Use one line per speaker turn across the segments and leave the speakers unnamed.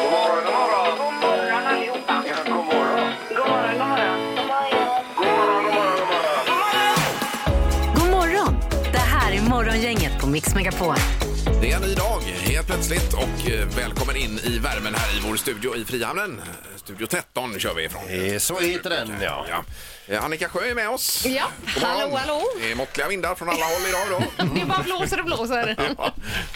God morgon, god morgon. God morgon allihopa. Ja, god morgon. God morgon, god morgon. God morgon, god morgon, god morgon.
God morgon! Det här är Morgongänget på Mix Megapol.
Det är en ny dag helt plötsligt och eh, välkommen in i värmen här i vår studio i Frihamnen. Eh, Studio 13 kör vi ifrån.
Eh, Så heter den, ja.
Ja. Eh, Annika Sjö är med oss.
Ja,
God morgon.
hallå, hallå.
Det är måttliga vindar från alla håll idag då.
Det bara blåser och blåser.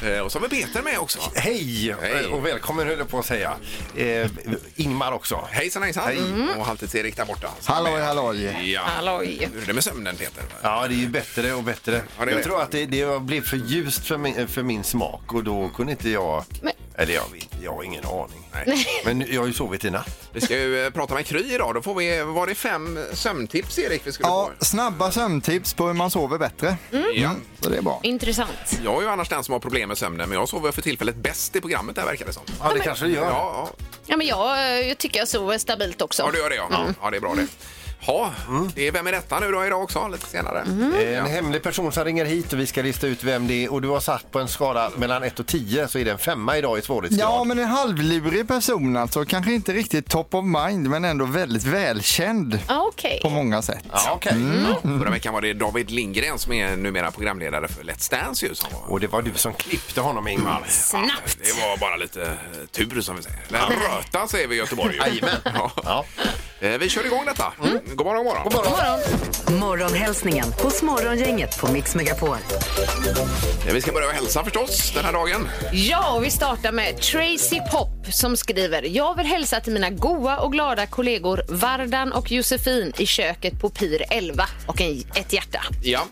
Ja. Eh, Och så har vi Peter med också.
Hej
Hej.
eh, och välkommen höll jag på att säga. Eh, Ingmar också.
Hejsan hejsan. Mm. Och Halvtids-Erik där borta.
Halloj, halloj.
Ja.
Halloj.
Hur är det med sömnen Peter?
Ja, det är ju bättre och bättre.
Ja, det är
jag
det.
tror att det, det blev för ljust för min, för min smak och då kunde inte jag...
Men-
Eller jag vet inte, jag har ingen aning.
Nej.
Men nu- jag har ju sovit i natt.
Vi ska ju eh, prata med Kry idag. Då får vi, var det fem sömntips Erik vi skulle
Ja,
få?
snabba sömntips på hur man sover bättre.
Mm.
Mm.
Ja.
Så det är bra.
Intressant.
Jag är ju annars den som har problem med sömnen men jag sover för tillfället bäst i programmet där verkar det som.
Ja, det kanske det gör.
Ja, ja.
Ja, men jag, eh, jag tycker jag sover stabilt också.
Ja, du gör det ja. Ja, det är bra det. Ja, det är Vem är detta nu då idag också lite senare.
Eh, En hemlig person som ringer hit och vi ska lista ut vem det är och du har satt på en skala mellan 1 och 10 så är det en femma idag i svårighetsgrad.
Ja, men en halvlurig person alltså. Kanske inte riktigt top of mind, men ändå väldigt välkänd
Ja, Okej.
på många sätt.
Ja, okej.
Ja, förra veckan var det David Lindgren som är numera programledare för Let's Dance ju. Som var.
Och det var du som klippte honom Ingmar.
Snabbt.
Det var bara lite eh, tur som vi säger. Eller röta säger vi i Göteborg. ju.
Jajamän.
Ja.
Ja.
Eh, Vi kör igång detta. God morgon, god morgon.
Morgonhälsningen hos Morgongänget på Mix Megapol.
Eh, Vi ska börja med hälsa förstås den här dagen.
Ja, och vi startar med Tracy Pop som skriver Jag vill hälsa till mina goa och glada kollegor Vardan och Josefin i köket på Pir 11 och en, ett hjärta.
Ja.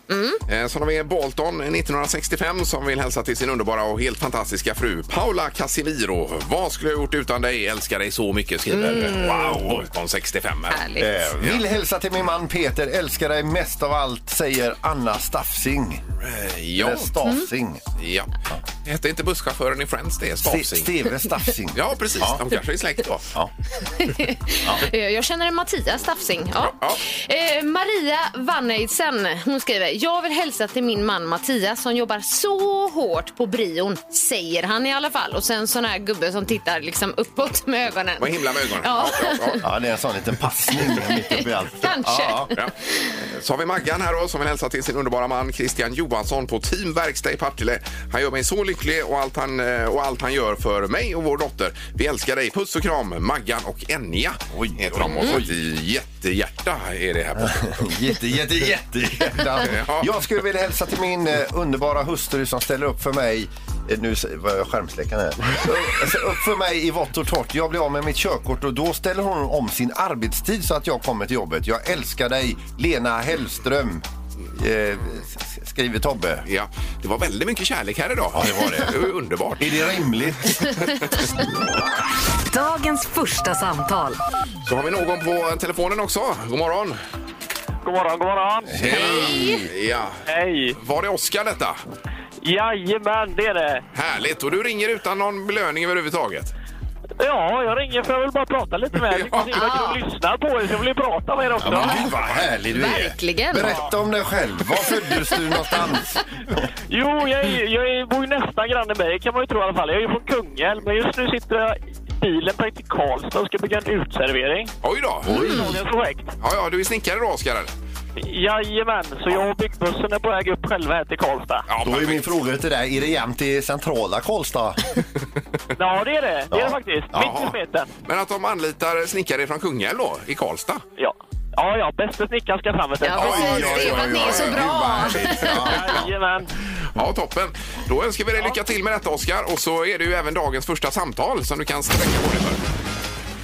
Eh, Sen har vi Bolton 1965 som vill hälsa till sin underbara och helt fantastiska fru Paula Casimiro. Vad skulle jag gjort utan dig? Älskar dig så mycket, skriver Wow, Bolton 65.
Härligt.
Eh, vill hälsa till min man Peter, älskar dig mest av allt, säger Anna Staffsing.
Eh,
Eller
Ja.
Stafsing.
ja. Hette inte busschauffören i Friends det?
Ste-
Stavsing.
Steve Staffsing.
Ja, precis. De kanske är släkt då.
Ja.
Eh, Jag känner en Mattias Staffsing. Ja.
Ja,
Eh, Maria Vanneidsen hon skriver Jag vill hälsa till min man Mattias som jobbar så hårt på brion, säger han i alla fall. Och sen sån här gubbe som tittar liksom uppåt med ögonen.
Vad himla med ögonen.
Ja.
Ja, ja,
Ja, det är en sån liten passning mitt uppe i allt.
Kanske.
Ja, ja.
ja. Eh, Så har vi Maggan här då, som vill hälsa till sin underbara man Christian Johansson på Team Verkstad i Partille. Han gör mig så lycklig och allt, han, eh, och allt han gör för mig och vår dotter. Vi älskar dig. Puss och kram, Maggan och Enja. Oj, heter de. Och så ett jättehjärta är det här på.
Jätte, jätte, jätte.
Ja.
Jag skulle vilja hälsa till min eh, underbara hustru som ställer upp för mig eh, nu s- var jag skärmsläckaren här. Alltså, Upp för mig i vått och torrt. Jag blir av med mitt körkort och då ställer hon om sin arbetstid så att jag kommer till jobbet. Jag älskar dig, Lena Hellström. Eh, s- s- skriver Tobbe.
Ja, det var väldigt mycket kärlek här idag. Ja, det var det. Det var ju underbart.
Är det rimligt?
Dagens första samtal.
Så har vi någon på telefonen också. God morgon.
God morgon, god morgon.
Hej! Ja.
Hej.
Var det Oskar detta?
Jajamän, det är det.
Härligt! Och du ringer utan någon belöning överhuvudtaget?
Ja, jag ringer för jag vill bara prata lite med er. Det är kul att ni lyssnar på er, så jag vill ju prata med er också.
Gud vad härlig du är.
Verkligen.
Berätta om dig själv. Var föddes du någonstans?
Jo, jag, är, jag är, bor ju nästan granne med er, kan man ju tro i alla fall. Jag är ju från Kungälv, men just nu sitter jag i bilen på väg till Karlstad och ska bygga en utservering.
Oj då!
Dagens projekt.
Ja, ja, du är snickare då, Oskar? eller?
Jajamän, så jag och byggbussen är på väg upp själva här till Karlstad.
Ja,
Då är
perfekt.
min fråga till dig, är det jämnt i centrala Karlstad?
Ja, det är det. Det är
Ja.
det faktiskt.
Jaha.
Mitt i smeten.
Men att de anlitar snickare från Kungälv då, i Karlstad?
Ja. Ja, ja, bäste snickaren ska fram vet du.
Ja, precis. Det är för att ni är så bra.
Jajamän.
Ja, toppen. Då önskar vi dig lycka till med detta, Oskar. Och så är det ju även dagens första samtal som du kan sträcka på dig för.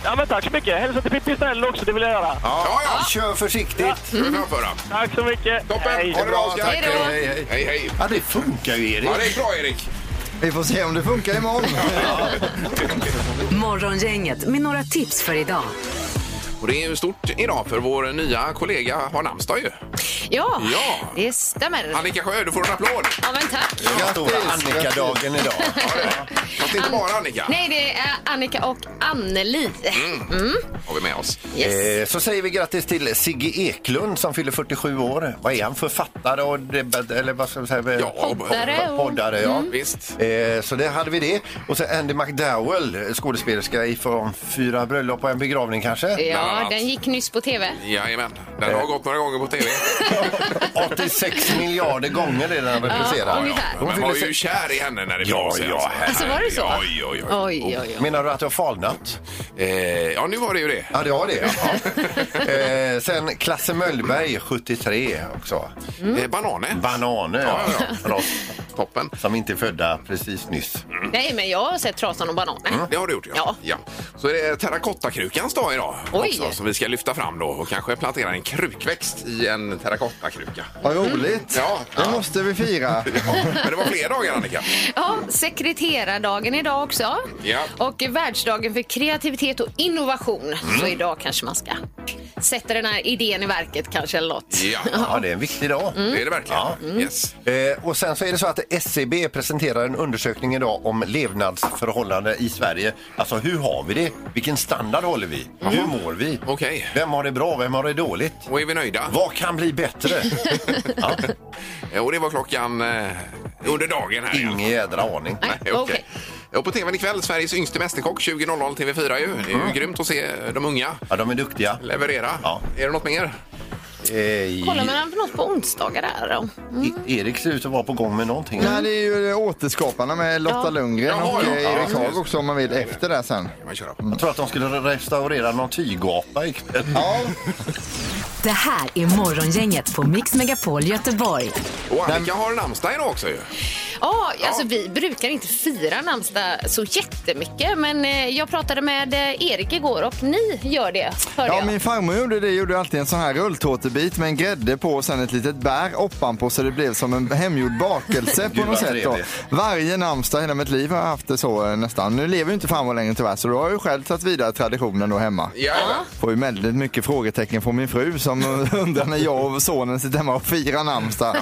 Ja, men tack så mycket. Hälsa till Pippi Snäll också, det vill jag göra.
Ja, ja.
Kör försiktigt.
Ska vi framföra.
Tack så mycket.
Toppen.
Hej.
Ha det bra, Oskar.
tack. Hej, hej.
Hej, hej.
Ja, det funkar ju Erik.
Ja, det är bra, Erik.
Vi får se om det funkar imorgon.
Morgongänget med några tips för idag.
Och det är ju stort idag för vår nya kollega har namnsdag ju.
Ja,
Ja.
det stämmer.
Annika Sjö, du får en applåd.
Ja, men tack.
Den stora Annika-dagen idag.
Fast inte bara Annika Mm.
Nej, det är Annika och Anneli.
har vi med oss.
Yes.
Eh, Så säger vi grattis till Sigge Eklund som fyller 47 år. Vad är han? Författare och debatt, eller vad ska vi säga?
Ja, och-
Poddare och-
Poddare, ja.
Visst.
Eh, Så det hade vi det. Och så Andy McDowell, skådespelerska ifrån Fyra bröllop och en begravning kanske.
bland
Ja,
annat.
den gick nyss på tv.
Jajamän,
Eh.
den har gått några gånger på tv.
86 miljarder gånger är den repriserad.
ungefär.
Ja,
Hon
Men var
fyller
ju
se-
kär i henne när det
Ja,
begav sig,
ja,
Alltså, var det så?
Oj, oj, oj.
Oj, oj, oj.
Menar du att jag har falnat?
Eh, ja, nu var det ju det.
Ja, det har det. Ja. eh, sen Klasse Möllberg, 73 också.
Mm.
Eh, banane.
Bananer,
Ja,
ja.
ja, ja.
För oss
Toppen.
som inte är födda precis nyss.
Nej, men jag har sett Trasan och bananen.
Det har du gjort, Mm. ja.
Ja.
Så är det terrakottakrukans dag idag
Oj.
också, som vi ska lyfta fram då och kanske plantera en krukväxt i en terrakottakruka.
Vad roligt.
Mm. Ja,
Det
ja.
måste vi fira.
Men det var fler dagar, Annika.
Ja, sekreterardagen idag också.
Ja.
Och världsdagen för kreativitet och innovation.
Mm.
Så idag kanske man ska sätta den här idén i verket kanske eller något.
Ja,
Ja, det är en viktig dag.
det är det verkligen.
Ja.
Yes.
Eh, och sen så är det så att SCB presenterar en undersökning idag om levnadsförhållanden i Sverige. Alltså hur har vi det? Vilken standard håller vi? Hur mår vi?
Okej.
Vem har det bra? Vem har det dåligt?
Och är vi nöjda?
Vad kan bli bättre? ja,
Eh, Och det var klockan eh, under dagen här. ja.
ingen jädra aning.
Nej,
Nej,
okej.
okej. Och på tvn ikväll, Sveriges yngste mästerkock 20.00 TV4 ju. Det är ju grymt att se de unga
Ja, de är duktiga.
leverera.
Ja.
Är det något mer?
Eh,
Kollar man på något på onsdagar där då?
E- Erik ser ut att vara på gång med någonting.
Nej, det är ju återskaparna med Lotta
Ja.
Lundgren
Jaha,
och
ja.
eh,
Ja,
Erik Haag
just.
också om man vill efter det sen.
Man kör upp.
Jag tror att de skulle restaurera någon tygapa ikväll.
Ja,
Det här är Morgongänget på Mix Megapol Göteborg.
Och Annika har namnsdag idag också ju.
Ja, alltså vi brukar inte fira namnsdag så jättemycket men eh, jag pratade med eh, Erik igår och ni gör det, hörde
ja
jag.
min farmor gjorde det. gjorde alltid en sån här rulltårtebit med en grädde på och sen ett litet bär oppanpå så det blev som en hemgjord bakelse på
Gud,
något
vad
sätt. Då.
trevligt.
Varje namnsdag hela mitt liv har jag haft det så eh, nästan. Nu lever ju inte farmor längre tyvärr så då har jag ju själv tagit vidare traditionen då hemma.
Ja.
Får ju väldigt mycket frågetecken från min fru som undrar när jag och sonen sitter hemma och firar namnsdag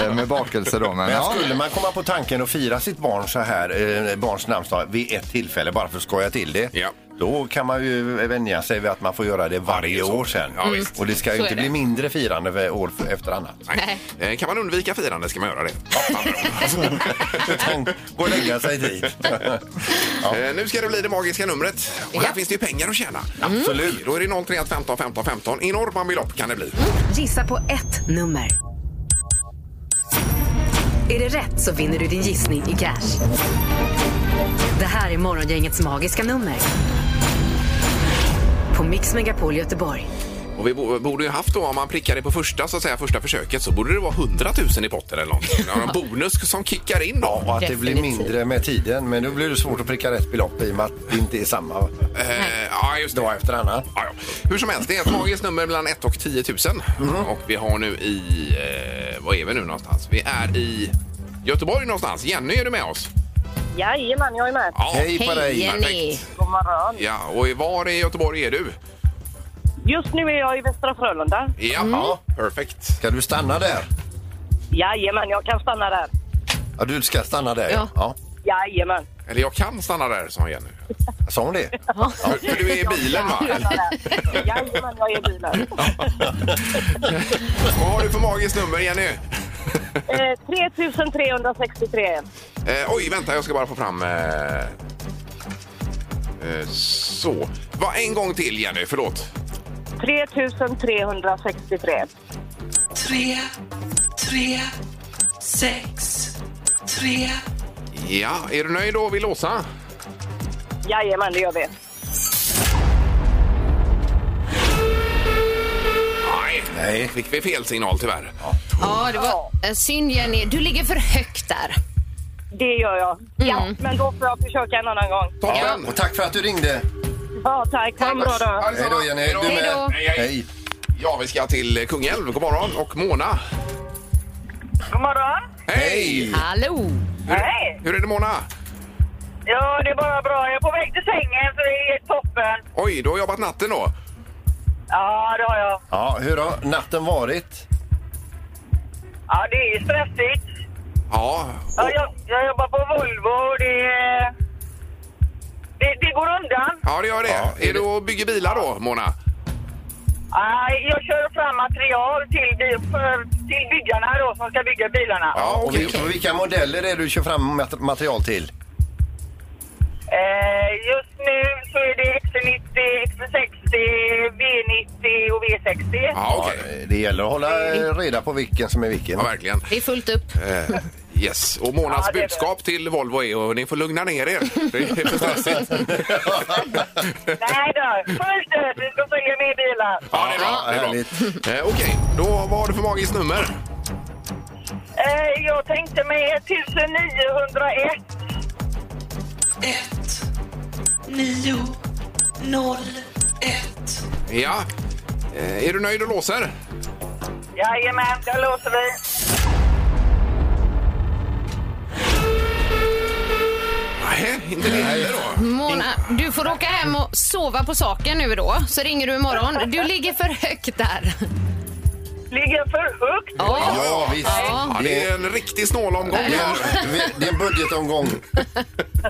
eh, med bakelse då. Men,
Men
ja.
skulle man komma på tanken att fira sitt barn så här, eh, barns namnsdag vid ett tillfälle bara för att skoja till det.
Ja.
Då kan man ju vänja sig vid att man får göra det varje år sen. Mm.
Ja, visst.
Och det ska ju
Så
inte
är det.
bli mindre firande för- år för- efter annat.
Nej. Eh, Kan man undvika firande ska man göra det.
Utan gå och lägga sig dit.
Eh, Nu ska det bli det magiska numret. Och här finns det ju pengar att tjäna. Mm. Absolut. Då är det 031 15 15 15. Enorma belopp kan det bli.
Gissa på ett nummer. Är det rätt så vinner du din gissning i cash. Det här är Morgongängets magiska nummer. På Mix Megapol Göteborg.
Och vi bo- borde ju haft då, om man prickar det på första så att säga, första försöket så borde det vara 100 000 i potten eller någonting. Ja, En bonus som kickar in då.
Och att det blir
Definitivt.
mindre med tiden. Men då blir det svårt att pricka rätt belopp i och med att det inte är samma
Eh, Ja, just det.
dag efter annat.
Ja, ja. Hur som helst, det är ett magiskt nummer mellan 1 och 10 000. Och vi har nu i... Eh, vad är vi nu någonstans? Vi är i Göteborg någonstans. Jenny, är du med oss?
Jajamän, jag är med.
Ja,
Hej på
Hej
dig!
Jenny!
God morgon.
ja. Och i- var i Göteborg är du?
Just nu är jag i Västra Frölunda.
Mm. Ja, perfekt.
Ska du stanna där?
Jajamän, jag kan stanna där.
Ja, du ska stanna där.
Ja.
ja.
Jajamän.
Eller jag kan stanna där, sa Jenny.
Sa hon det?
För för du är i bilen, va?
Stanna där. Jajamän, jag är i bilen.
Vad har du för magiskt nummer, Jenny?
Eh, 3363.
Eh, oj, vänta, jag ska bara få fram... Eh, eh, så. Va, en gång till, Jenny. Förlåt.
3363.
Tre, tre, sex, tre.
Ja, är du nöjd då? Vi låsa?
Jajamän, det gör vi.
Nej,
Nej.
fick vi fel signal tyvärr.
Ja, det var eh, synd Jenny. Du ligger för högt där.
Det gör jag. Ja, men då får jag försöka en annan gång.
Toppen!
Och tack för att du ringde.
Ja, tack. Ha en bra dag.
Hej då Jenny. Du
Hej då.
med.
Hej, hej.
Hej.
Ja, vi ska till Kungälv. God morgon. Och Mona.
God morgon.
Hej!
Hallå!
Hej.
Hur är det Mona?
Ja, det är bara bra. Jag är på väg till sängen, så det är toppen.
Oj, du har jobbat natten då?
Ja, det har jag.
Ja, hur har natten varit?
Ja, det är stressigt.
Ja,
Ja, jag, jag jobbar på Volvo och det, eh, det, det går undan.
ja det gör det. är du och bygger bilar då, Mona?
Ja, jag kör fram material till, bi- för, till byggarna då, som ska bygga bilarna.
Ja,
Och
okej.
vilka, vilka modeller är det du kör fram mat- material till?
Eh, just nu så är det E XC90, XC60, V90 och V60.
Ja, okej.
Det gäller att hålla eh, reda på vilken som är vilken.
Ja, verkligen.
Det är fullt upp.
Eh, yes. Och Monas
Ja, det är det.
budskap till Volvo är att ni får lugna ner er. Det är för stressigt.
Nej då, fullt ös, vi ska följa med bilar.
Ja, det är bra. Det är bra. Eh, okej, då vad har du för magiskt nummer?
Eh, jag tänkte mig 1901.
Ja. Eh, är du nöjd och låser?
Jajamän, där låser vi.
Nej, inte det heller då.
Mona, du får åka hem och sova på saken nu då, så ringer du imorgon. Du ligger för högt där.
Ligger för högt.
Ja.
Ja, visst.
Ja.
Ja, det är en riktig snålomgång.
Det är en- Det är en budgetomgång.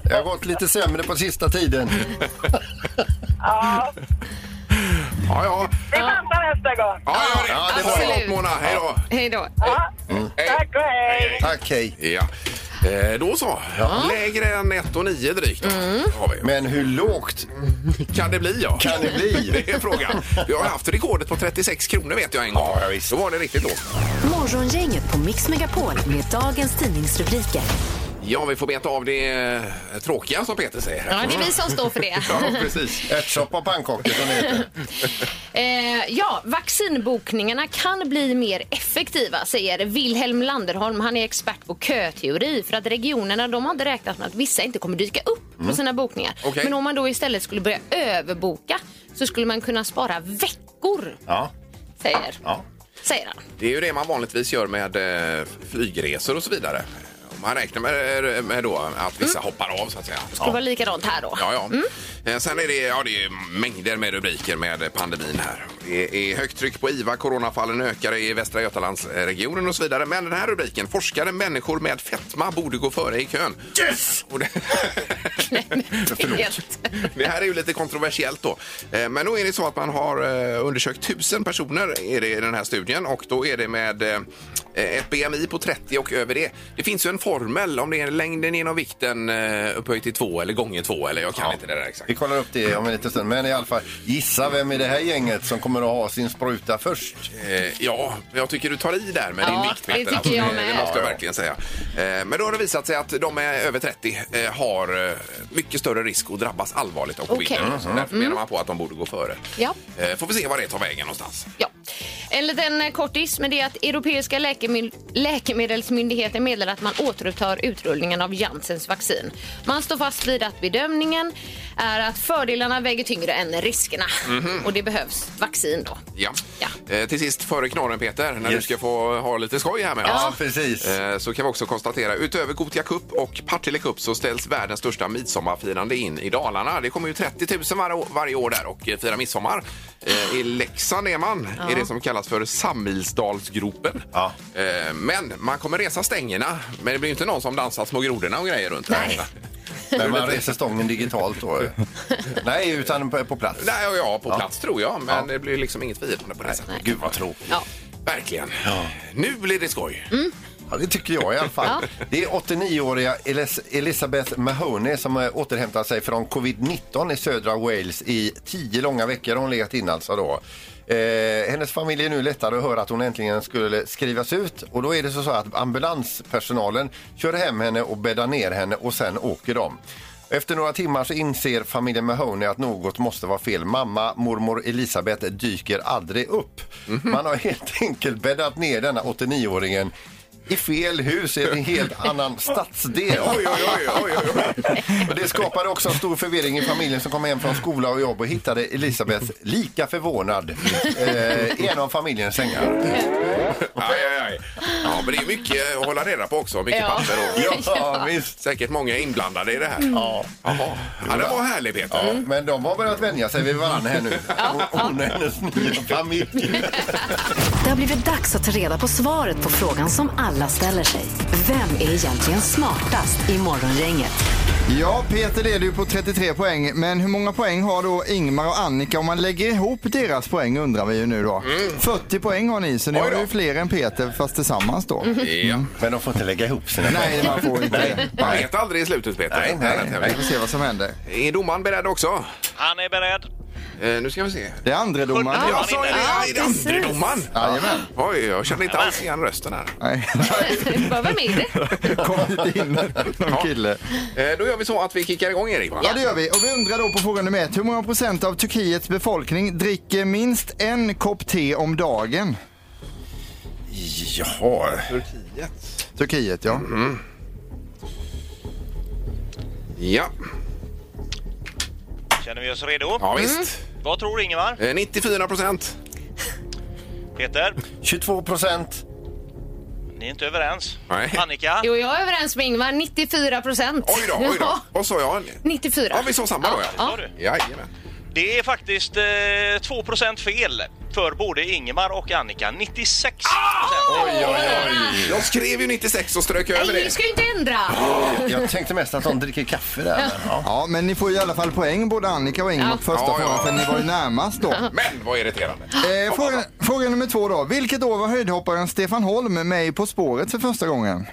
Jag har gått lite sämre på sista tiden.
Ja,
Ja, ja.
vi chansar nästa gång.
Ja, ja, det,
Ja,
ja, det
det var
var
det.
Förlåt, Mona. Hej då.
Hej då.
Ja,
Hej.
tack och hej.
Tack, hej.
Ja. Eh, då så. Lägre än 1 och 9 drygt. Har vi.
Mm. Men hur lågt
Kan det bli, ja?
kan det bli?
Det är frågan. Vi har haft rekordet på 36 kronor vet jag en gång.
Ja, visst.
Då var det riktigt lågt.
Morgongänget på Mix Megapol med dagens tidningsrubriker.
Ja, vi får beta av det eh, tråkiga som Peter säger.
Ja, det är vi som står för det.
Ja, precis.
Ärtsoppa och pannkakor som det heter.
Eh, ja, vaccinbokningarna kan bli mer effektiva, säger Wilhelm Landerholm. Han är expert på köteori för att regionerna de hade räknat med att vissa inte kommer dyka upp på sina bokningar.
Mm. Okej.
Men om man då istället skulle börja överboka så skulle man kunna spara veckor,
Ja.
säger,
Ja.
säger han.
Det är ju det man vanligtvis gör med eh, flygresor och så vidare. Man räknar med, eh, med då att vissa hoppar av så att säga.
Det skulle vara likadant här då.
Ja, ja. Eh, Sen är det, ja, det är mängder med rubriker med pandemin här. Det är högt tryck på IVA, coronafallen ökar i Västra Götalandsregionen och så vidare. Men den här rubriken, forskare, människor med fetma borde gå före i kön. Yes! Och det,
Helt.
det här är ju lite kontroversiellt då. Eh, Men då är det så att man har eh, undersökt tusen personer är det i den här studien och då är det med eh, ett BMI på 30 och över det. Det finns ju en formel om det är längden genom vikten eh, upphöjt till två eller gånger två eller jag kan inte det där exakt.
Vi kollar upp det om en liten stund. Men i alla fall, gissa vem i det här gänget som kommer att ha sin spruta först?
Eh, ja, men jag tycker du tar i där med
Ja,
din vikt.
det tycker
Peter, alltså.
jag
Eh,
med.
Det måste jag verkligen säga. Eh, men då har det visat sig att de är över 30 eh, har eh, mycket större risk att drabbas allvarligt av covid.
Okej. Mm-hmm. Mm.
Så därför menar man på att de borde gå före.
Ja.
Eh, får vi se var det tar vägen någonstans.
Ja. En liten eh, kortis, men det är att Europeiska läkemil- läkemedelsmyndigheten meddelar att man återupptar utrullningen av Janssens vaccin. Man står fast vid att bedömningen är att fördelarna väger tyngre än riskerna. Och det behövs vaccin då.
Mhm. Ja.
Ja.
Eh, till sist, före knorren Peter, när du
Yes.
ska få ha lite skoj här med
Ja,
oss.
precis.
Eh, Så kan vi också konstatera, utöver Gothia Cup och Partille Cup så ställs världens största midsommarfirande in i Dalarna. Det kommer ju 30 000 var, varje år där och eh, firar midsommar. Eh, I Leksand är man i det som kallas för Samilsdalsgropen.
Ja.
Eh, Men man kommer resa stängerna, men det blir ju inte någon som dansar små grodorna och grejer runt.
Nej.
Men man reser stången digitalt då? Nej, utan på, på plats.
Nej, ja, ja, på
Ja.
plats tror jag, men
Ja.
det blir liksom inget firande på det sättet.
Gud vad tråkigt.
Ja.
Verkligen. Nu blir det skoj.
Ja, det tycker jag i alla fall. Det är 89-åriga Elis- Elizabeth Mahoney som eh, återhämtar sig från covid-19 i södra Wales i tio långa veckor. Hon legat in alltså då. Eh, hennes familj är nu lättare att höra att hon äntligen skulle skrivas ut och då är det så så att ambulanspersonalen kör hem henne och bäddar ner henne och sen åker de. Efter några timmar så inser familjen Mahoney att något måste vara fel. Mamma, mormor Elisabeth dyker aldrig upp. Man har helt enkelt bäddat ner denna 89-åringen i fel hus i en helt annan stadsdel.
Oj, oj, oj, oj, oj, oj.
Och det skapade också en stor förvirring i familjen som kom hem från skola och jobb och hittade Elisabeth lika förvånad eh, i en av familjens sängar.
Aj, aj, aj. Ja, men det är mycket att hålla reda på också. Mycket
Ja.
papper och
Ja, visst.
säkert många inblandade i det här. Ja. Jaha. Ja, det var härligt Peter.
Ja, Men de har börjat vänja sig vid varandra här nu. Hon och hennes nya familj.
Det har blivit dags att ta reda på svaret på frågan som alla ställer sig. Vem är egentligen smartast i Morgongänget?
Ja, Peter leder ju på 33 poäng, men hur många poäng har då Ingmar och Annika om man lägger ihop deras poäng undrar vi ju nu då. 40 poäng har ni, så ni
Mm. Oj
har
då. Mm.
ju fler än Peter fast tillsammans då.
Ja.
Men de får inte lägga ihop sina
Nej, man får inte det.
Man vet aldrig i slutet Peter.
Nej, nej,
Den här
Vi
tävlingen.
får se vad som händer.
Är domaren beredd också?
Han är beredd.
Eh, nu ska vi se.
Det är andre domaren.
Ja,
Jag sa ju det,
ja,
är det andre domaren?
Jajamän.
Oj, jag kände inte alls igen rösten här.
Nej,
Bara, vem är det?
kom inte in någon kille.
Eh, då gör vi så att vi kickar igång Erik. Va?
Ja, det gör vi. Och vi undrar då på fråga nummer ett. Hur många procent av Turkiets befolkning dricker minst en kopp te om dagen?
Jaha.
Turkiet, ja.
Ja,
Känner vi oss redo?
ja visst.
Vad tror Ingemar?
Eh, 94 procent.
Peter?
22 procent.
Ni är inte överens.
Nej.
Annika?
Jo, jag är överens med Ingmar. 94 procent.
Oj då, oj då. Vad sa jag?
94.
Ja, vi sa samma då ja.
Ja.
Jajamän.
Det är faktiskt eh, 2 fel för både Ingemar och Annika. 96
Ah!
Oj, oj, oj.
Jag skrev ju 96 och strök över
Nej, vi
det.
ska ju inte ändra.
Jag tänkte mest att de dricker kaffe där. Men, ja.
Ja, men ni får ju i alla fall poäng både Annika och Ingmar
Ja.
på första
Ja, ja.
frågan för ni var ju närmast då.
Men vad irriterande.
Eh, fråga, fråga nummer två då. Vilket år var höjdhopparen Stefan Holm med i På spåret för första gången?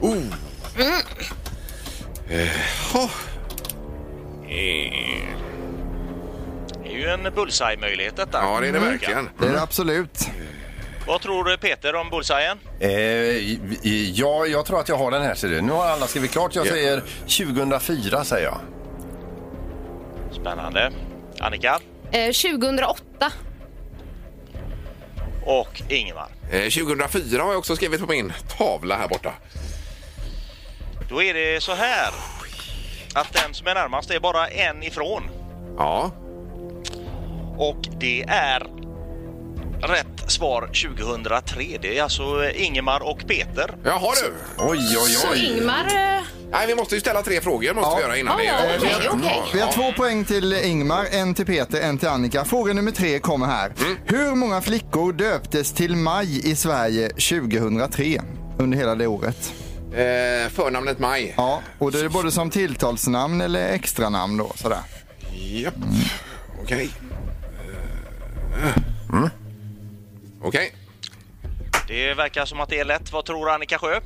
Oh.
Mm.
Eh,
Det är ju en bullseye-möjlighet detta.
Ja, det är det verkligen.
Det är det absolut.
Vad tror Peter om bullseyen?
Eh, i- i- ja, jag tror att jag har den här. Ser du. Nu har alla skrivit klart. Jag
Ja.
säger 2004. säger jag.
Spännande. Annika
Eh, 2008.
och Ingemar.
Eh, 2004 har jag också skrivit på min tavla här borta.
Då är det så här att den som är närmast är bara en ifrån
Ja.
och det är rätt svar 2003. Det är alltså Ingemar och Peter.
Jaha du.
Oj, oj,
Så
oj.
Ingmar... Eh,
Nej, vi måste ju ställa tre frågor måste vi
Ja.
göra
Ja,
innan
ja,
det.
okej, okej.
Vi har två poäng till Ingmar, en till Peter, en till Annika. Fråga nummer tre kommer här.
Mm.
Hur många flickor döptes till Maj i Sverige 2003? Under hela det året.
Eh, förnamnet Maj.
Ja, och det är både som tilltalsnamn eller extranamn då. Sådär.
Japp. Okej. Eh.
Mm.
Okej.
Det verkar som att det är lätt. Vad tror Annika Sjö?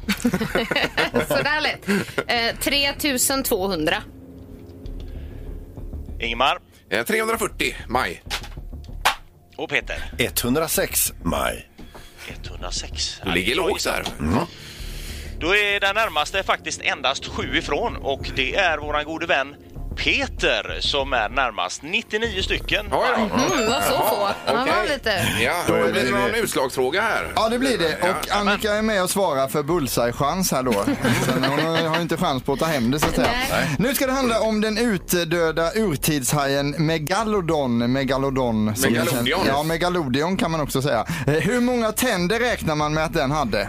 sådär lätt. Eh, 3200.
Ingemar
Eh, 340 Maj.
och Peter.
106 maj.
106.
Du ligger lågt där.
Mm.
Då är den närmaste faktiskt endast sju ifrån och det är våran gode vän Peter som är närmast. 99 stycken.
Ja, ja.
Mm, vad så få. Han var
okej.
lite...
Ja,
Då är
det
det-
blir någon utslagsfråga här.
Ja, det blir det. Och Annika är med och svarar för bullseye-chans här då. Sen hon har ju inte chans på att ta hem det så att säga.
Nej.
Nu ska det handla om den utdöda urtidshajen Megalodon. Megalodon. som
Megalodion.
vi känner- Ja, Megalodion kan man också säga. Eh, Hur många tänder räknar man med att den hade?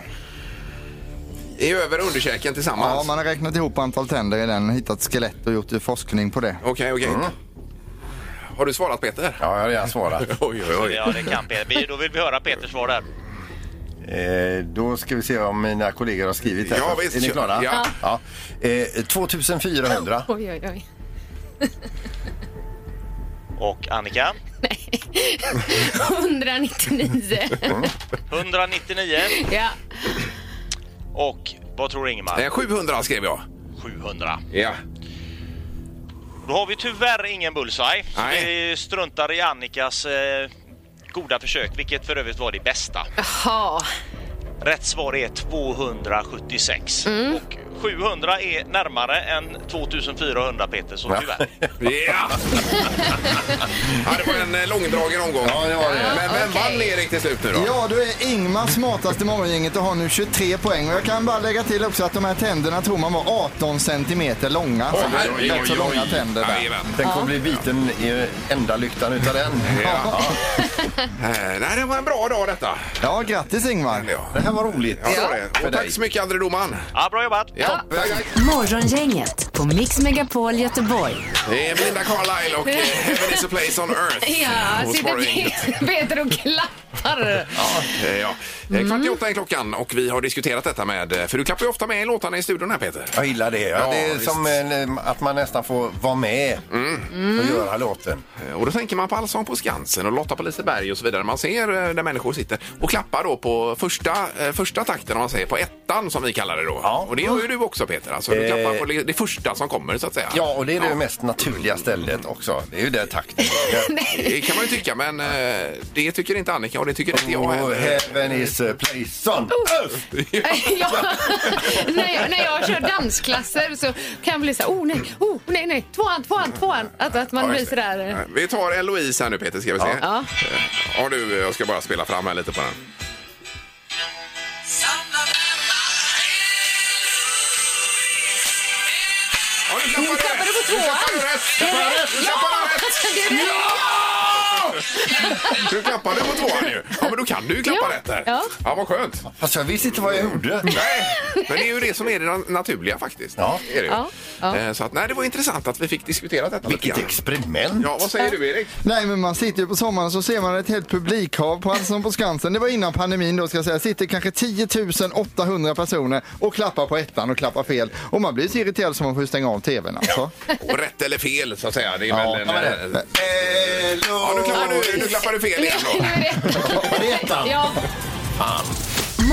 I över och underkäken tillsammans.
Ja, man har räknat ihop antal tänder i den, hittat skelett och gjort forskning på det.
Okej, okej.
Mm.
Har du svarat Peter?
Ja, jag har redan svarat.
Oj, oj, oj.
Ja, det kan Peter. Vi- Då vill vi höra Peters svar där.
Eh, då ska vi se om mina kollegor har skrivit här.
Ja, visst,
är ni
kör.
klara?
Ja.
Ja. Eh, 2400.
Oj, oj, oj.
Och Annika?
199.
199.
ja.
Och vad tror Ingemar?
Eh, 700 skrev jag.
700.
Ja.
Då har vi tyvärr ingen bullseye. Så
Nej.
Vi struntar i Annikas eh, goda försök, vilket för övrigt var det bästa.
Jaha.
Mm.
Rätt svar är 276. Och
700 är närmare än 2400 Peter, så tyvärr.
Ja! ja, det var en eh, långdragen omgång. Ja, det var det. Men vem vann Erik till slut nu då?
Ja, du är Ingmar smartast i morgongänget och har nu 23 poäng. Och jag kan bara lägga till också att de här tänderna tror man var 18 centimeter långa.
Oj,
Så det är
oj, oj,
rätt så
oj.
långa tänder där.
Jajamän.
Den kommer bli biten i enda lyktan utav den.
Ja. Eh, Nej, det var en bra dag detta.
Ja, grattis Ingmar.
Ja,
Det här var roligt.
det var det.
För
Och
dig.
tack så mycket, André domaren.
Ja, bra jobbat!
Ja, tack, tack.
Morgongänget på Mix Megapol Göteborg.
Det är Linda Carlisle och eh, Heaven is a place on earth.
Ja,
Hos
sitter
Morgongänget.
Peter- Peter och klappar.
Eh, Ja. Eh, Kvart i åtta är klockan och vi har diskuterat detta med... eh, För du klappar ju ofta med i låtarna i studion här Peter.
Jag gillar det. Ja,
Ja,
det är
visst. Mm.
som en, att man nästan får vara med och göra låten.
Eh, Och då tänker man på Allsång på Skansen och Lotta på Liseberg och så vidare. Man ser eh, där människor sitter och klappar då på första, eh, första takten, om man säger, på ettan som vi kallar det då.
Ja.
Och det gör ju du också Peter, alltså du
Eh.
klappar på det- det första som kommer så att säga.
Ja, och det är det mest naturliga stället också. Det är ju där takten ligger.
Det kan man ju tycka, men eh, det tycker inte Annika och det tycker inte jag
Oh,
heller.
heaven is a place on earth.
ja. när, jag, när jag kör dansklasser så kan jag bli så här, oh nej, oh nej, nej, tvåan, tvåan, tvåan. Att, att man
Ja,
blir
just
så
det.
där. eh,
Eh, Vi tar Eloise här nu Peter, ska vi se.
Ja.
Eh, Ja, du, jag ska bara spela fram här lite på den. Ja, nu
Nu tappade du på tvåan.
Du tappade rätt! Du tappade rätt!
Det är-
Du klappade på tvåan ju. Ja, men då kan du ju klappa
Ja.
rätt där.
Ja.
ja, vad skönt.
Fast jag visste inte vad jag gjorde.
Nej, men det är ju det som är det na- naturliga faktiskt.
Ja.
Är det ju.
Ja, ja.
Eh, Så att, nej, det var intressant att vi fick diskutera detta
Vilket
lite grann.
experiment.
Ja, vad säger du Erik?
Nej, men man sitter ju på sommaren så ser man ett helt publikhav på Allsång på Skansen. Det var innan pandemin då ska jag säga. Sitter kanske 10 800 personer och klappar på ettan och klappar fel. Och man blir så irriterad så man får stänga av tvn alltså.
Och rätt eller fel så att säga. Det är
Ja,
väl en,
ja, men
eh,
det-
ja, nu, klappar du, nu klappar du fel igen
Nu
då.
är det-
det ettan?
Ja,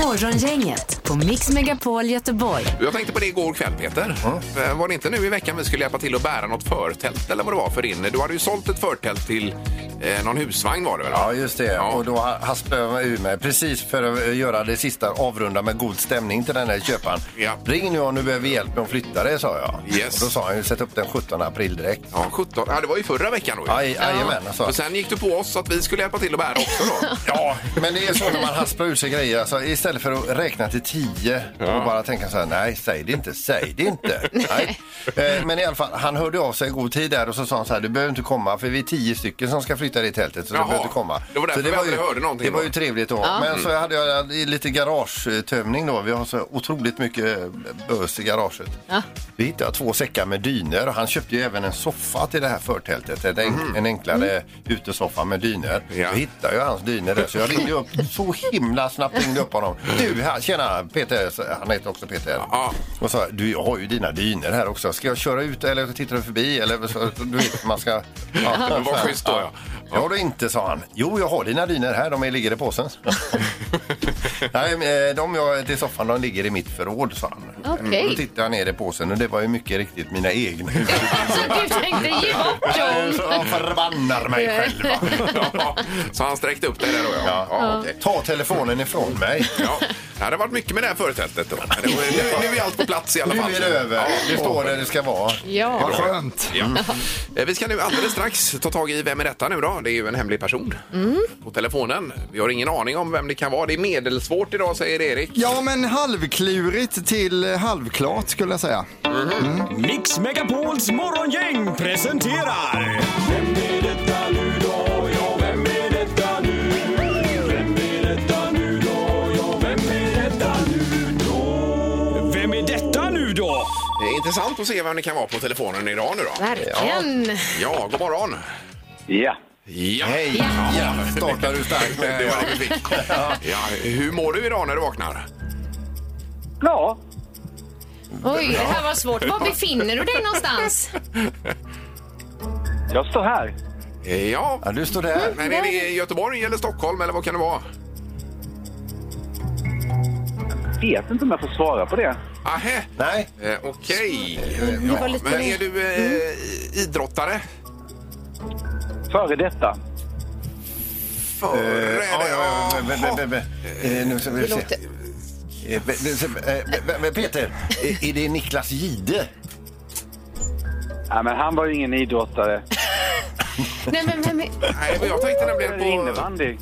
Morgongänget på Mix Megapol Göteborg.
Jag tänkte på det igår kväll Peter. Eh, Var det inte nu i veckan vi skulle hjälpa till att bära något förtält eller vad det var för din? Du hade ju sålt ett förtält till eh, någon husvagn var det väl?
Ja, just det.
Ja.
Och då ha- haspade jag mig ur mig precis för att eh, göra det sista avrunda med god stämning till den här köparen.
Ja.
Ring nu om du behöver hjälp med att flytta det, sa jag.
Yes.
Och då sa han ju sätt upp den 17 april direkt.
Ja, 17. Ja, det var ju förra veckan då. ju.
Aj, Jajamän, alltså.
Och sen gick du på oss att vi skulle hjälpa till att bära också då. ja.
Men det är så när man hasplar ur sig grejer. Alltså, istället för att räkna till tio och bara tänka så här, nej, säg det inte, säg det inte. nej. Eh, Men i alla fall, han hörde av sig i god tid där och så sa han så här, du behöver inte komma för vi är tio stycken som ska flytta i tältet så
Jaha.
du behöver inte komma.
Det var
så
därför vi aldrig
ju,
hörde någonting
Det var
då. Mm.
ju trevligt då. Men så hade jag eh, i lite garagetömning då. Vi har så otroligt mycket eh, bös i garaget.
Ja.
Vi hittade två säckar med dyner och han köpte ju även en soffa till det här förtältet. En, enk- en enklare utesoffa med dyner.
Mhm. Mm. Ja.
Jag hittade ju hans dyner där så jag ringde upp så himla snabbt ringde upp honom. Du, här, tjena Peter, så- han heter också Peter.
Ja.
Och sa, du jag har ju dina dyner här också. Ska jag köra ut eller tittar du förbi? Eller så, du vet, man ska... Ja,
Men vad schysst då, ja.
Ja, då inte, sa han. Jo, jag har dina dyner här. De är- ligger i påsen. Nej, men, eh, de jag har till soffan de ligger i mitt förråd, sa han.
Mm,
Okej.
Då tittade jag ner i påsen och det var ju mycket riktigt mina egna.
så du tänkte ge bort
Jag
dem.
förbannar mig själv. va.
ja. Så han sträckte upp dig där då ja. Ja, okej.
Ta telefonen ifrån mig.
Ja. Det hade varit mycket med det här förtältet då. Men det var- Nu, nu är allt på plats i alla
Nu
fall.
är det över. Det står där det ska vara.
Vad
Ja,
skönt.
Ja. Eh, Vi ska nu alldeles strax ta tag i Vem är detta nu då? Det är ju en hemlig person på telefonen. Vi har ingen aning om vem det kan vara. Det är medelsvårt idag säger Erik.
Ja, men halvklurigt till eh, halvklart skulle jag säga.
Mix Megapols morgongäng presenterar... Vem är detta nu då?
Det är intressant att se vem det kan vara på telefonen idag nu då.
verkligen.
Ja, god morgon.
Ja.
Ja.
Hej! Ja, startar du starkt
Det
med.
var det vi fick. Ja, hur mår du idag när du vaknar?
Ja.
Oj, det här var svårt. Var befinner du dig någonstans?
Jag står här.
Eh, Ja,
Ja, du står där.
men är det Göteborg eller Stockholm eller vad kan det vara?
Vet inte om jag får svara på det.
Ahä,
Nej,
eh, okej.
var
Ja,
lite- Mm.
men är du eh, idrottare?
Före detta.
Före?
Eh, ja, ja, ja, men- men- men- men- eh, Nu ska vi se.
Låter-
Eh, v- v- eh, v- v- Peter, eh, är det Niklas Gide?
Nej, men han var ju ingen idrottare.
Eh,
Nej, men vem är...
Nej, men jag tänkte nämligen på...
Innebandy.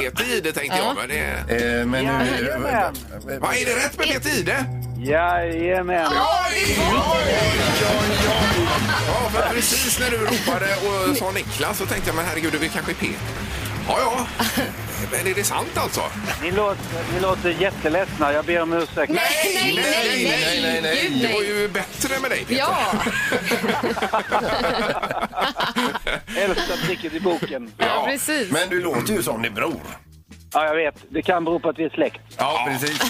Peter Jihde tänkte jag, men det...
Eh, men nu...
Jajamän.
Va, är det rätt med Peter Jihde?
Jajamän.
Oj, oj, oj, oj, oj. Ja, för precis när du ropade och sa Niklas så tänkte jag, men herregud, det är kanske Peter. Ja, ja. Men är det sant alltså?
Ni låter, ni låter jätteledsna. Jag ber om ursäkt.
nej, nej, nej, nej, nej. Gud,
Det var
nej.
ju bättre med dig, Peter.
Ja,
Äldsta pricket i boken.
ja, precis.
Men du låter ju som din bror.
Ja, jag vet. Det kan bero på att vi är släkt.
Ja, precis.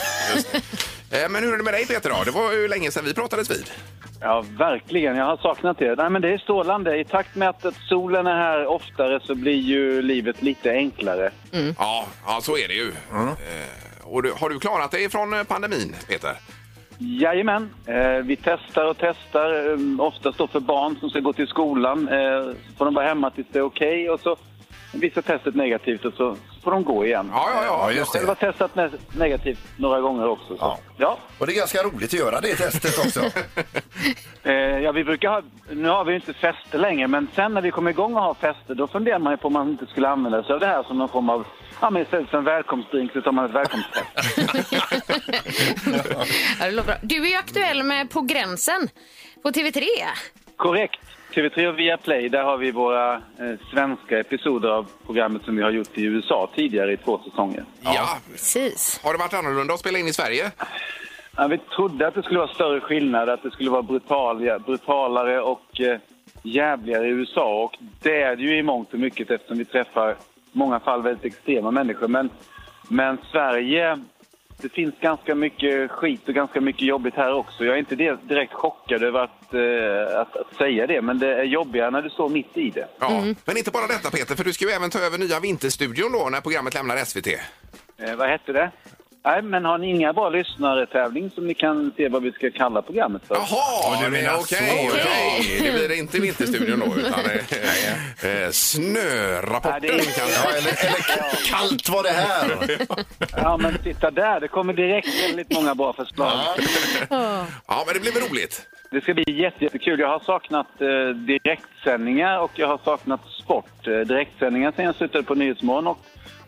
Eh, Men hur är det med dig, Peter? Då? Det var ju länge sedan vi pratades vid.
Ja, verkligen. Jag har saknat er. Nej, men det är strålande. I takt med att, att solen är här oftare så blir ju livet lite enklare.
Ja, ja, så är det ju. Eh, Och du, har du klarat dig från eh, pandemin, Peter?
Jajamän. Eh, vi testar och testar. Eh, oftast då för barn som ska gå till skolan. Eh, får de vara hemma tills det är okej och så visar testet negativt och så får de gå igen.
Ja, ja, ja.
Ja, just
Jag
det.
har testat ne- negativt några gånger också. Så.
Ja.
Ja. Ja.
Och det är ganska roligt att göra det testet också.
Eh, ja, vi brukar ha, nu har vi ju inte fester längre, men sen när vi kom igång och har fester då funderar man ju på om man inte skulle använda sig av det här som någon form av, ja men istället för en välkomstdrink så tar man ett välkomsttest.
Ja, det låter bra. Du är ju aktuell med På gränsen på TV3.
Korrekt. TV3 och Viaplay, där har vi våra eh, svenska episoder av programmet som vi har gjort i USA tidigare i två säsonger.
Ja.
Precis.
Har det varit annorlunda att spela in i Sverige?
Ja, vi trodde att det skulle vara större skillnad, att det skulle vara brutal, brutalare och eh, jävligare i USA. Och det är det ju i mångt och mycket eftersom vi träffar i många fall väldigt extrema människor. Men, men Sverige, det finns ganska mycket skit och ganska mycket jobbigt här också. Jag är inte det- direkt chockad över att, eh, att, att säga det, men det är jobbigare när du står mitt i det.
Ja. Men inte bara detta, Peter, för du ska ju även ta över nya Vinterstudion då när programmet lämnar SVT.
Eh, vad hette det? Nej, men har ni inga bra lyssnare-tävling som ni kan se vad vi ska kalla programmet för?
Jaha, ja,
du menar
okej.
så, ja.
okej. Det blir inte Vinterstudion då, utan eh, eh,
Nej, det
Snörapporten
är-
kanske.
Ja, eller, eller kallt var det här.
Ja, men titta där. Det kommer direkt väldigt många bra förslag.
Ja, men det blir väl roligt.
Det ska bli jätte- jättekul. Jag har saknat eh, direktsändningar och jag har saknat sport. Eh, direktsändningar sen jag slutade på Nyhetsmorgon och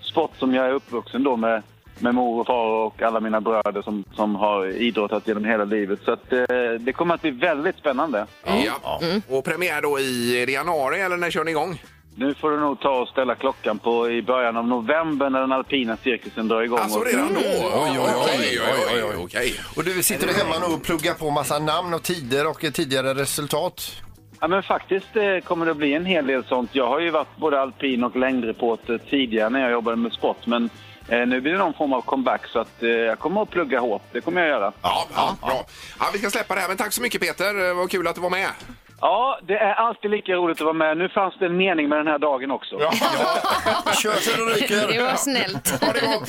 sport som jag är uppvuxen då med, med mor och far och alla mina bröder som, som har idrottat genom hela livet. Så att, eh, det kommer att bli väldigt spännande.
Ja. Och premiär då i är det januari, eller när kör ni igång?
Nu får du nog ta och ställa klockan på i början av november när den alpina cirkusen drar igång.
Alltså
Och-
redan då? Oj, oj, oj, oj, oj, oj, okej.
Och du sitter du hemma nu och pluggar på massa namn och tider och eh, tidigare resultat.
Ja, men faktiskt eh, kommer det bli en hel del sånt. Jag har ju varit både alpin och längdreporter tidigare när jag jobbade med sport, men eh, nu blir det någon form av comeback så att eh, jag kommer att plugga hårt. Det kommer jag göra.
Ja, ja, bra. Ja, vi ska släppa det här, men tack så mycket Peter. Eh, Vad kul att du var med.
Ja, det är alltid lika roligt att vara med. Nu fanns det en mening med den här dagen också.
Kör så du
Det
ryker.
var snällt.
Ha det gott!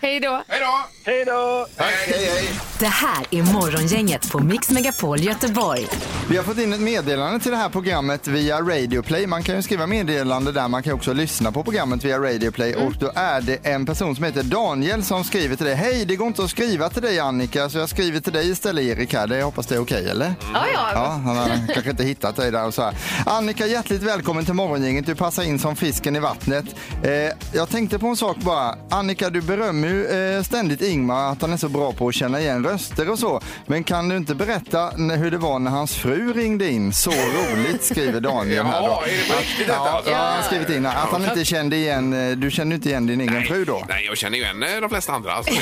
Hej då.
Hej då!
Hej då!
Tack, hej, hej.
Det här är Morgongänget på Mix Megapol Göteborg.
Vi har fått in ett meddelande till det här programmet via Radioplay. Man kan ju skriva meddelande där, man kan också lyssna på programmet via Radioplay. Och då är det en person som heter Daniel som skriver till dig. Hej, det går inte att skriva till dig Annika, så jag skriver till dig istället Erik här. Det, jag hoppas det är okej eller?
Ja, ja.
Ja, han har kanske inte hittat dig där och så här. Annika, hjärtligt välkommen till morgongänget. Du passar in som fisken i vattnet. Eh, jag tänkte på en sak bara. Annika, du berömmer ju eh, ständigt Ingmar att han är så bra på att känna igen röster och så. Men kan du inte berätta n- hur det var när hans fru ringde in? Så roligt, skriver Daniel här då.
Ja, är det på riktigt detta?
Ja,
alltså?
ja, han har skrivit in här. att han inte kände igen, eh, du kände inte igen din egen fru då?
Nej, jag känner ju igen eh, de flesta andra. Alltså.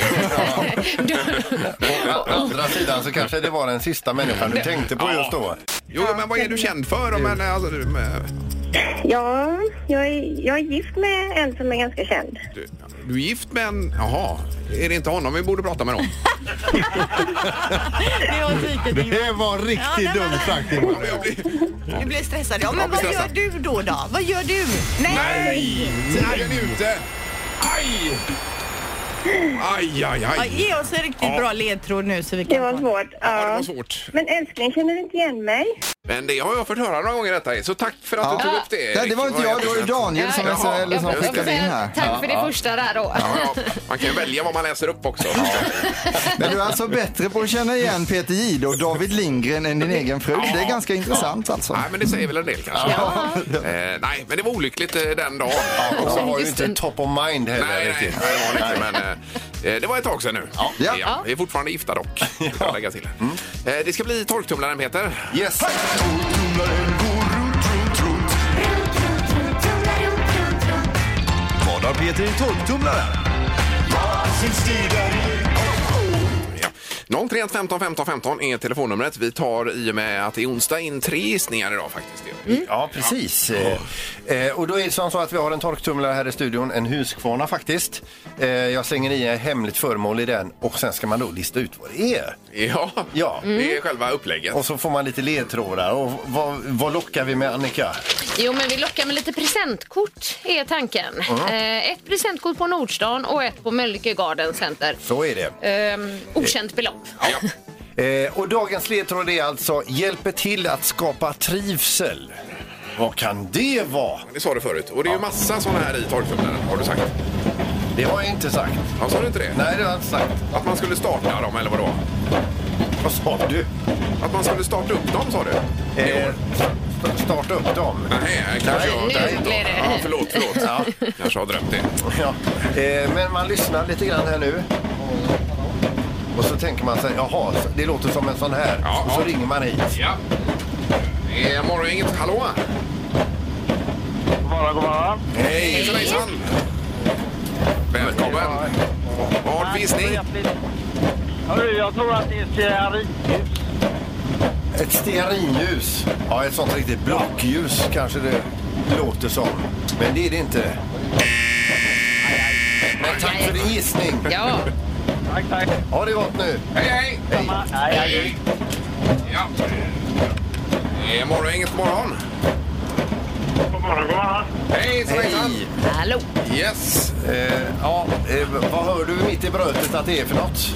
Å andra sidan så kanske det var den sista människan du tänkte på just då.
Jo, men vad är du känd för? då? Men, alltså, du, men-
Ja, jag är, jag är gift med en som är ganska känd.
du, du är gift med en... Jaha, är det inte honom vi borde prata med då?
Det var riktigt dumt sagt.
Ja, jag blir-
Du blir stressad. Ja,
Jag
men
blir
vad gör
stressad.
du då? då? Vad gör du?
Nej! Tiden är ute! Aj! Aj, aj,
Ja,
aj.
ge oss en riktigt bra ledtråd nu så vi
Det
kan...
var svårt.
Ja, det
Ja.
var svårt.
Men älskling, känner du inte igen mig?
Men det har jag fått höra några gånger detta är. så tack för att
Ja.
du tog upp det.
Nej, det var inte jag, det var ju Daniel som
Jaha.
SHL som
Ja, just
skickade in här.
Tack för det första där då.
Man kan ju välja vad man läser upp också.
Men du är alltså bättre på att känna igen Peter Jihde och David Lindgren än din egen fru. Det är ganska intressant alltså.
Nej, men det säger väl en del kanske. Eh, nej, men det var olyckligt eh, den dagen. Ja,
och så var ju Just inte det.
top of mind heller nej, nej,
riktigt.
Nej, det var det inte, men eh, det var ett tag sedan nu. Ja. Vi är fortfarande gifta dock. vill jag Lägga till.
Mm.
Eh, det ska bli torktumlaren, Peter.
Yes.
Vad har Peter i torktumlaren?
031 15 15 15 är telefonnumret. Vi tar i och med att det är onsdag in tre gissningar idag faktiskt.
Ja, precis. Eh, och då är det som så att vi har en torktumlare här i studion, en Husqvarna faktiskt. Eh, jag slänger i ett hemligt föremål i den och sen ska man då lista ut vad det är.
Ja,
ja. Mm.
det är själva upplägget.
Och så får man lite ledtrådar. Och vad, vad lockar vi med Annika?
Jo, men vi lockar med lite presentkort är tanken.
Mm.
Eh, ett presentkort på Nordstan och ett på Mölnlycke Garden Center.
Så är det.
Ehm, okänt belopp.
Eh, och dagens ledtråd är alltså hjälper till att skapa trivsel. Vad kan det vara?
Det sa du förut. Och det är ju massa sådana här i torktumlaren, har du sagt.
Det har jag inte sagt.
Ja, sa du inte det?
Nej, det har jag inte sagt.
Att man skulle starta dem, eller vadå?
Vad sa du?
Att man skulle starta upp dem, sa du?
Eh, st- starta upp dem?
Nej, kanske jag har
Nej,
drömt
nu blir
det.
det-
Ja, förlåt, förlåt.
Ja.
Kanske har drömt det.
Ja. Eh, men man lyssnar lite grann här nu. Och så tänker man sig, jaha, det låter som en sån här. och så ringer man hit.
Ja. Det är morgongänget. Hallå?
God morgon, god morgon.
Hej! Hejsan, hejsan! Välkommen! Vad har gissning?
Hörru, jag tror att det är stearin.
Ett stearinljus. Ja, ett sånt riktigt blockljus kanske det låter som. Men det är det inte. Men tack för din gissning.
Ja.
Tack, tack.
Ha det gott nu.
Hej, hej!
Hej, hej.
Ja. Det är morgongänget. God morgon!
God morgon, god morgon.
Hejsan, hejsan!
Hallå!
Yes!
Eh, ja, eh, vad hör du mitt i brötet att det är för något?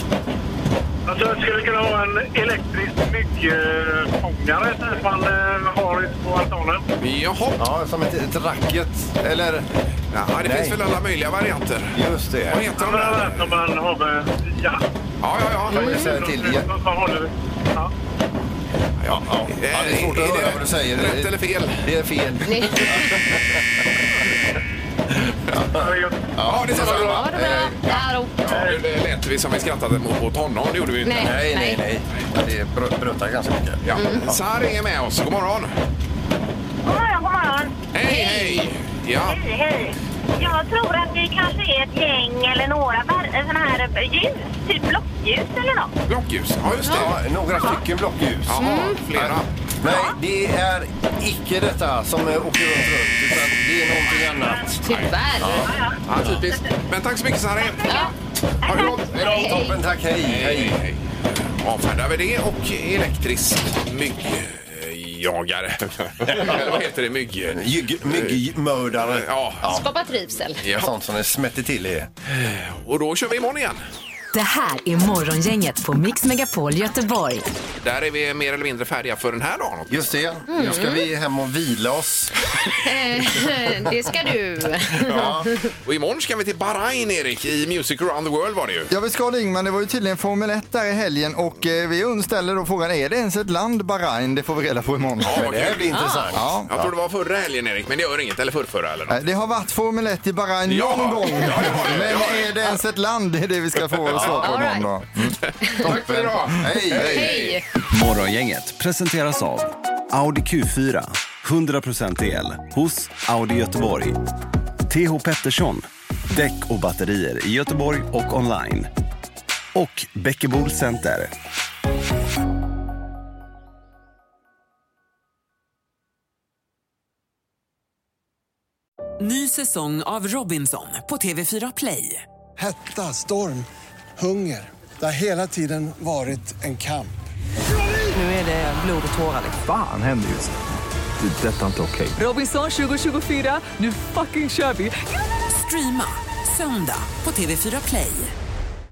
Alltså, jag skulle kunna ha en elektrisk myggfångare så att man eh, har det på altanen.
Jaha.
Ja, som ett, ett racket. Eller?
Ja, det finns väl alla möjliga varianter.
Just det.
Vad heter de där?
Som man har med... Ja.
Ja, ja, ja.
Jag gissar en till. Ja,
Vad håller vi? Ja.
ja, ja.
det är svårt att höra vad du säger.
Rätt eller fel?
Det är fel.
Ja, det är så bra.
Ha det
Eh,
bra. Hallå.
Ja, det lät vi som vi skrattade mot, mot honom. Det gjorde vi ju inte.
Nej, Nej, nej,
nej. Ja, det brö- brötar ganska mycket.
Ja. Sari är med oss. God morgon.
God morgon, god morgon.
Hej, hej. Ja.
Hej, hej. Jag tror att vi kanske är ett gäng eller några var- såna här eh, ljus, typ blockljus eller något.
Blockljus. Ja, Mm. just det.
Ja, några stycken blockljus.
Jaha, flera.
Nej, det är icke detta som eh, åker runt, runt utan det är någonting annat.
Tyvärr.
Ja, typiskt. Men tack så mycket, Sari.
Ja.
Ha det gott. Hej då.
Toppen, tack. Hej, hej.
hej. Avfärdar vi det och elektrisk myggjagare. Eller vad heter det? Mygg...
Jygg- Myggmördare.
Ja.
Skapa trivsel.
Ja.
Sånt som det smätter till i.
Och då kör vi imorgon igen.
Det här är Morgongänget på Mix Megapol Göteborg.
Där är vi mer eller mindre färdiga för den här dagen.
Just det. Nu
Mm.
ska vi hem och vila oss.
Eh, det ska du.
Ja. Och imorgon ska vi till Bahrain, Erik, i Music around the world var det ju.
Ja, vi ska det Ingmar. Det var ju tydligen Formel 1 där i helgen och eh, vi un- ställer då frågan, är det ens ett land Bahrain? Det får vi reda på imorgon.
Men det här blir intressant.
Ja.
Jag tror det var förra helgen, Erik, men det gör inget. Eller förrförra eller något.
Eh, Det har varit Formel 1 i Bahrain
Ja.
någon gång.
Ja, det har det.
Men
Ja, det.
är det ens ett land? Det är det vi ska få svar på
All right.
imorgon då.
Tack för idag!
Hej,
Hej.
Morgongänget presenteras av Audi Q4. 100% el hos Audi Göteborg. TH Pettersson. Däck och batterier i Göteborg och online. Och Bäckebol Center.
Ny säsong av Robinson på TV4 Play.
Hetta, storm, hunger. Det har hela tiden varit en kamp.
Nu är det blod och tårar.
Fan händer just det. Det är detta inte okej.
Robinson 2024, nu fucking kör vi! Streama söndag på TV4 Play.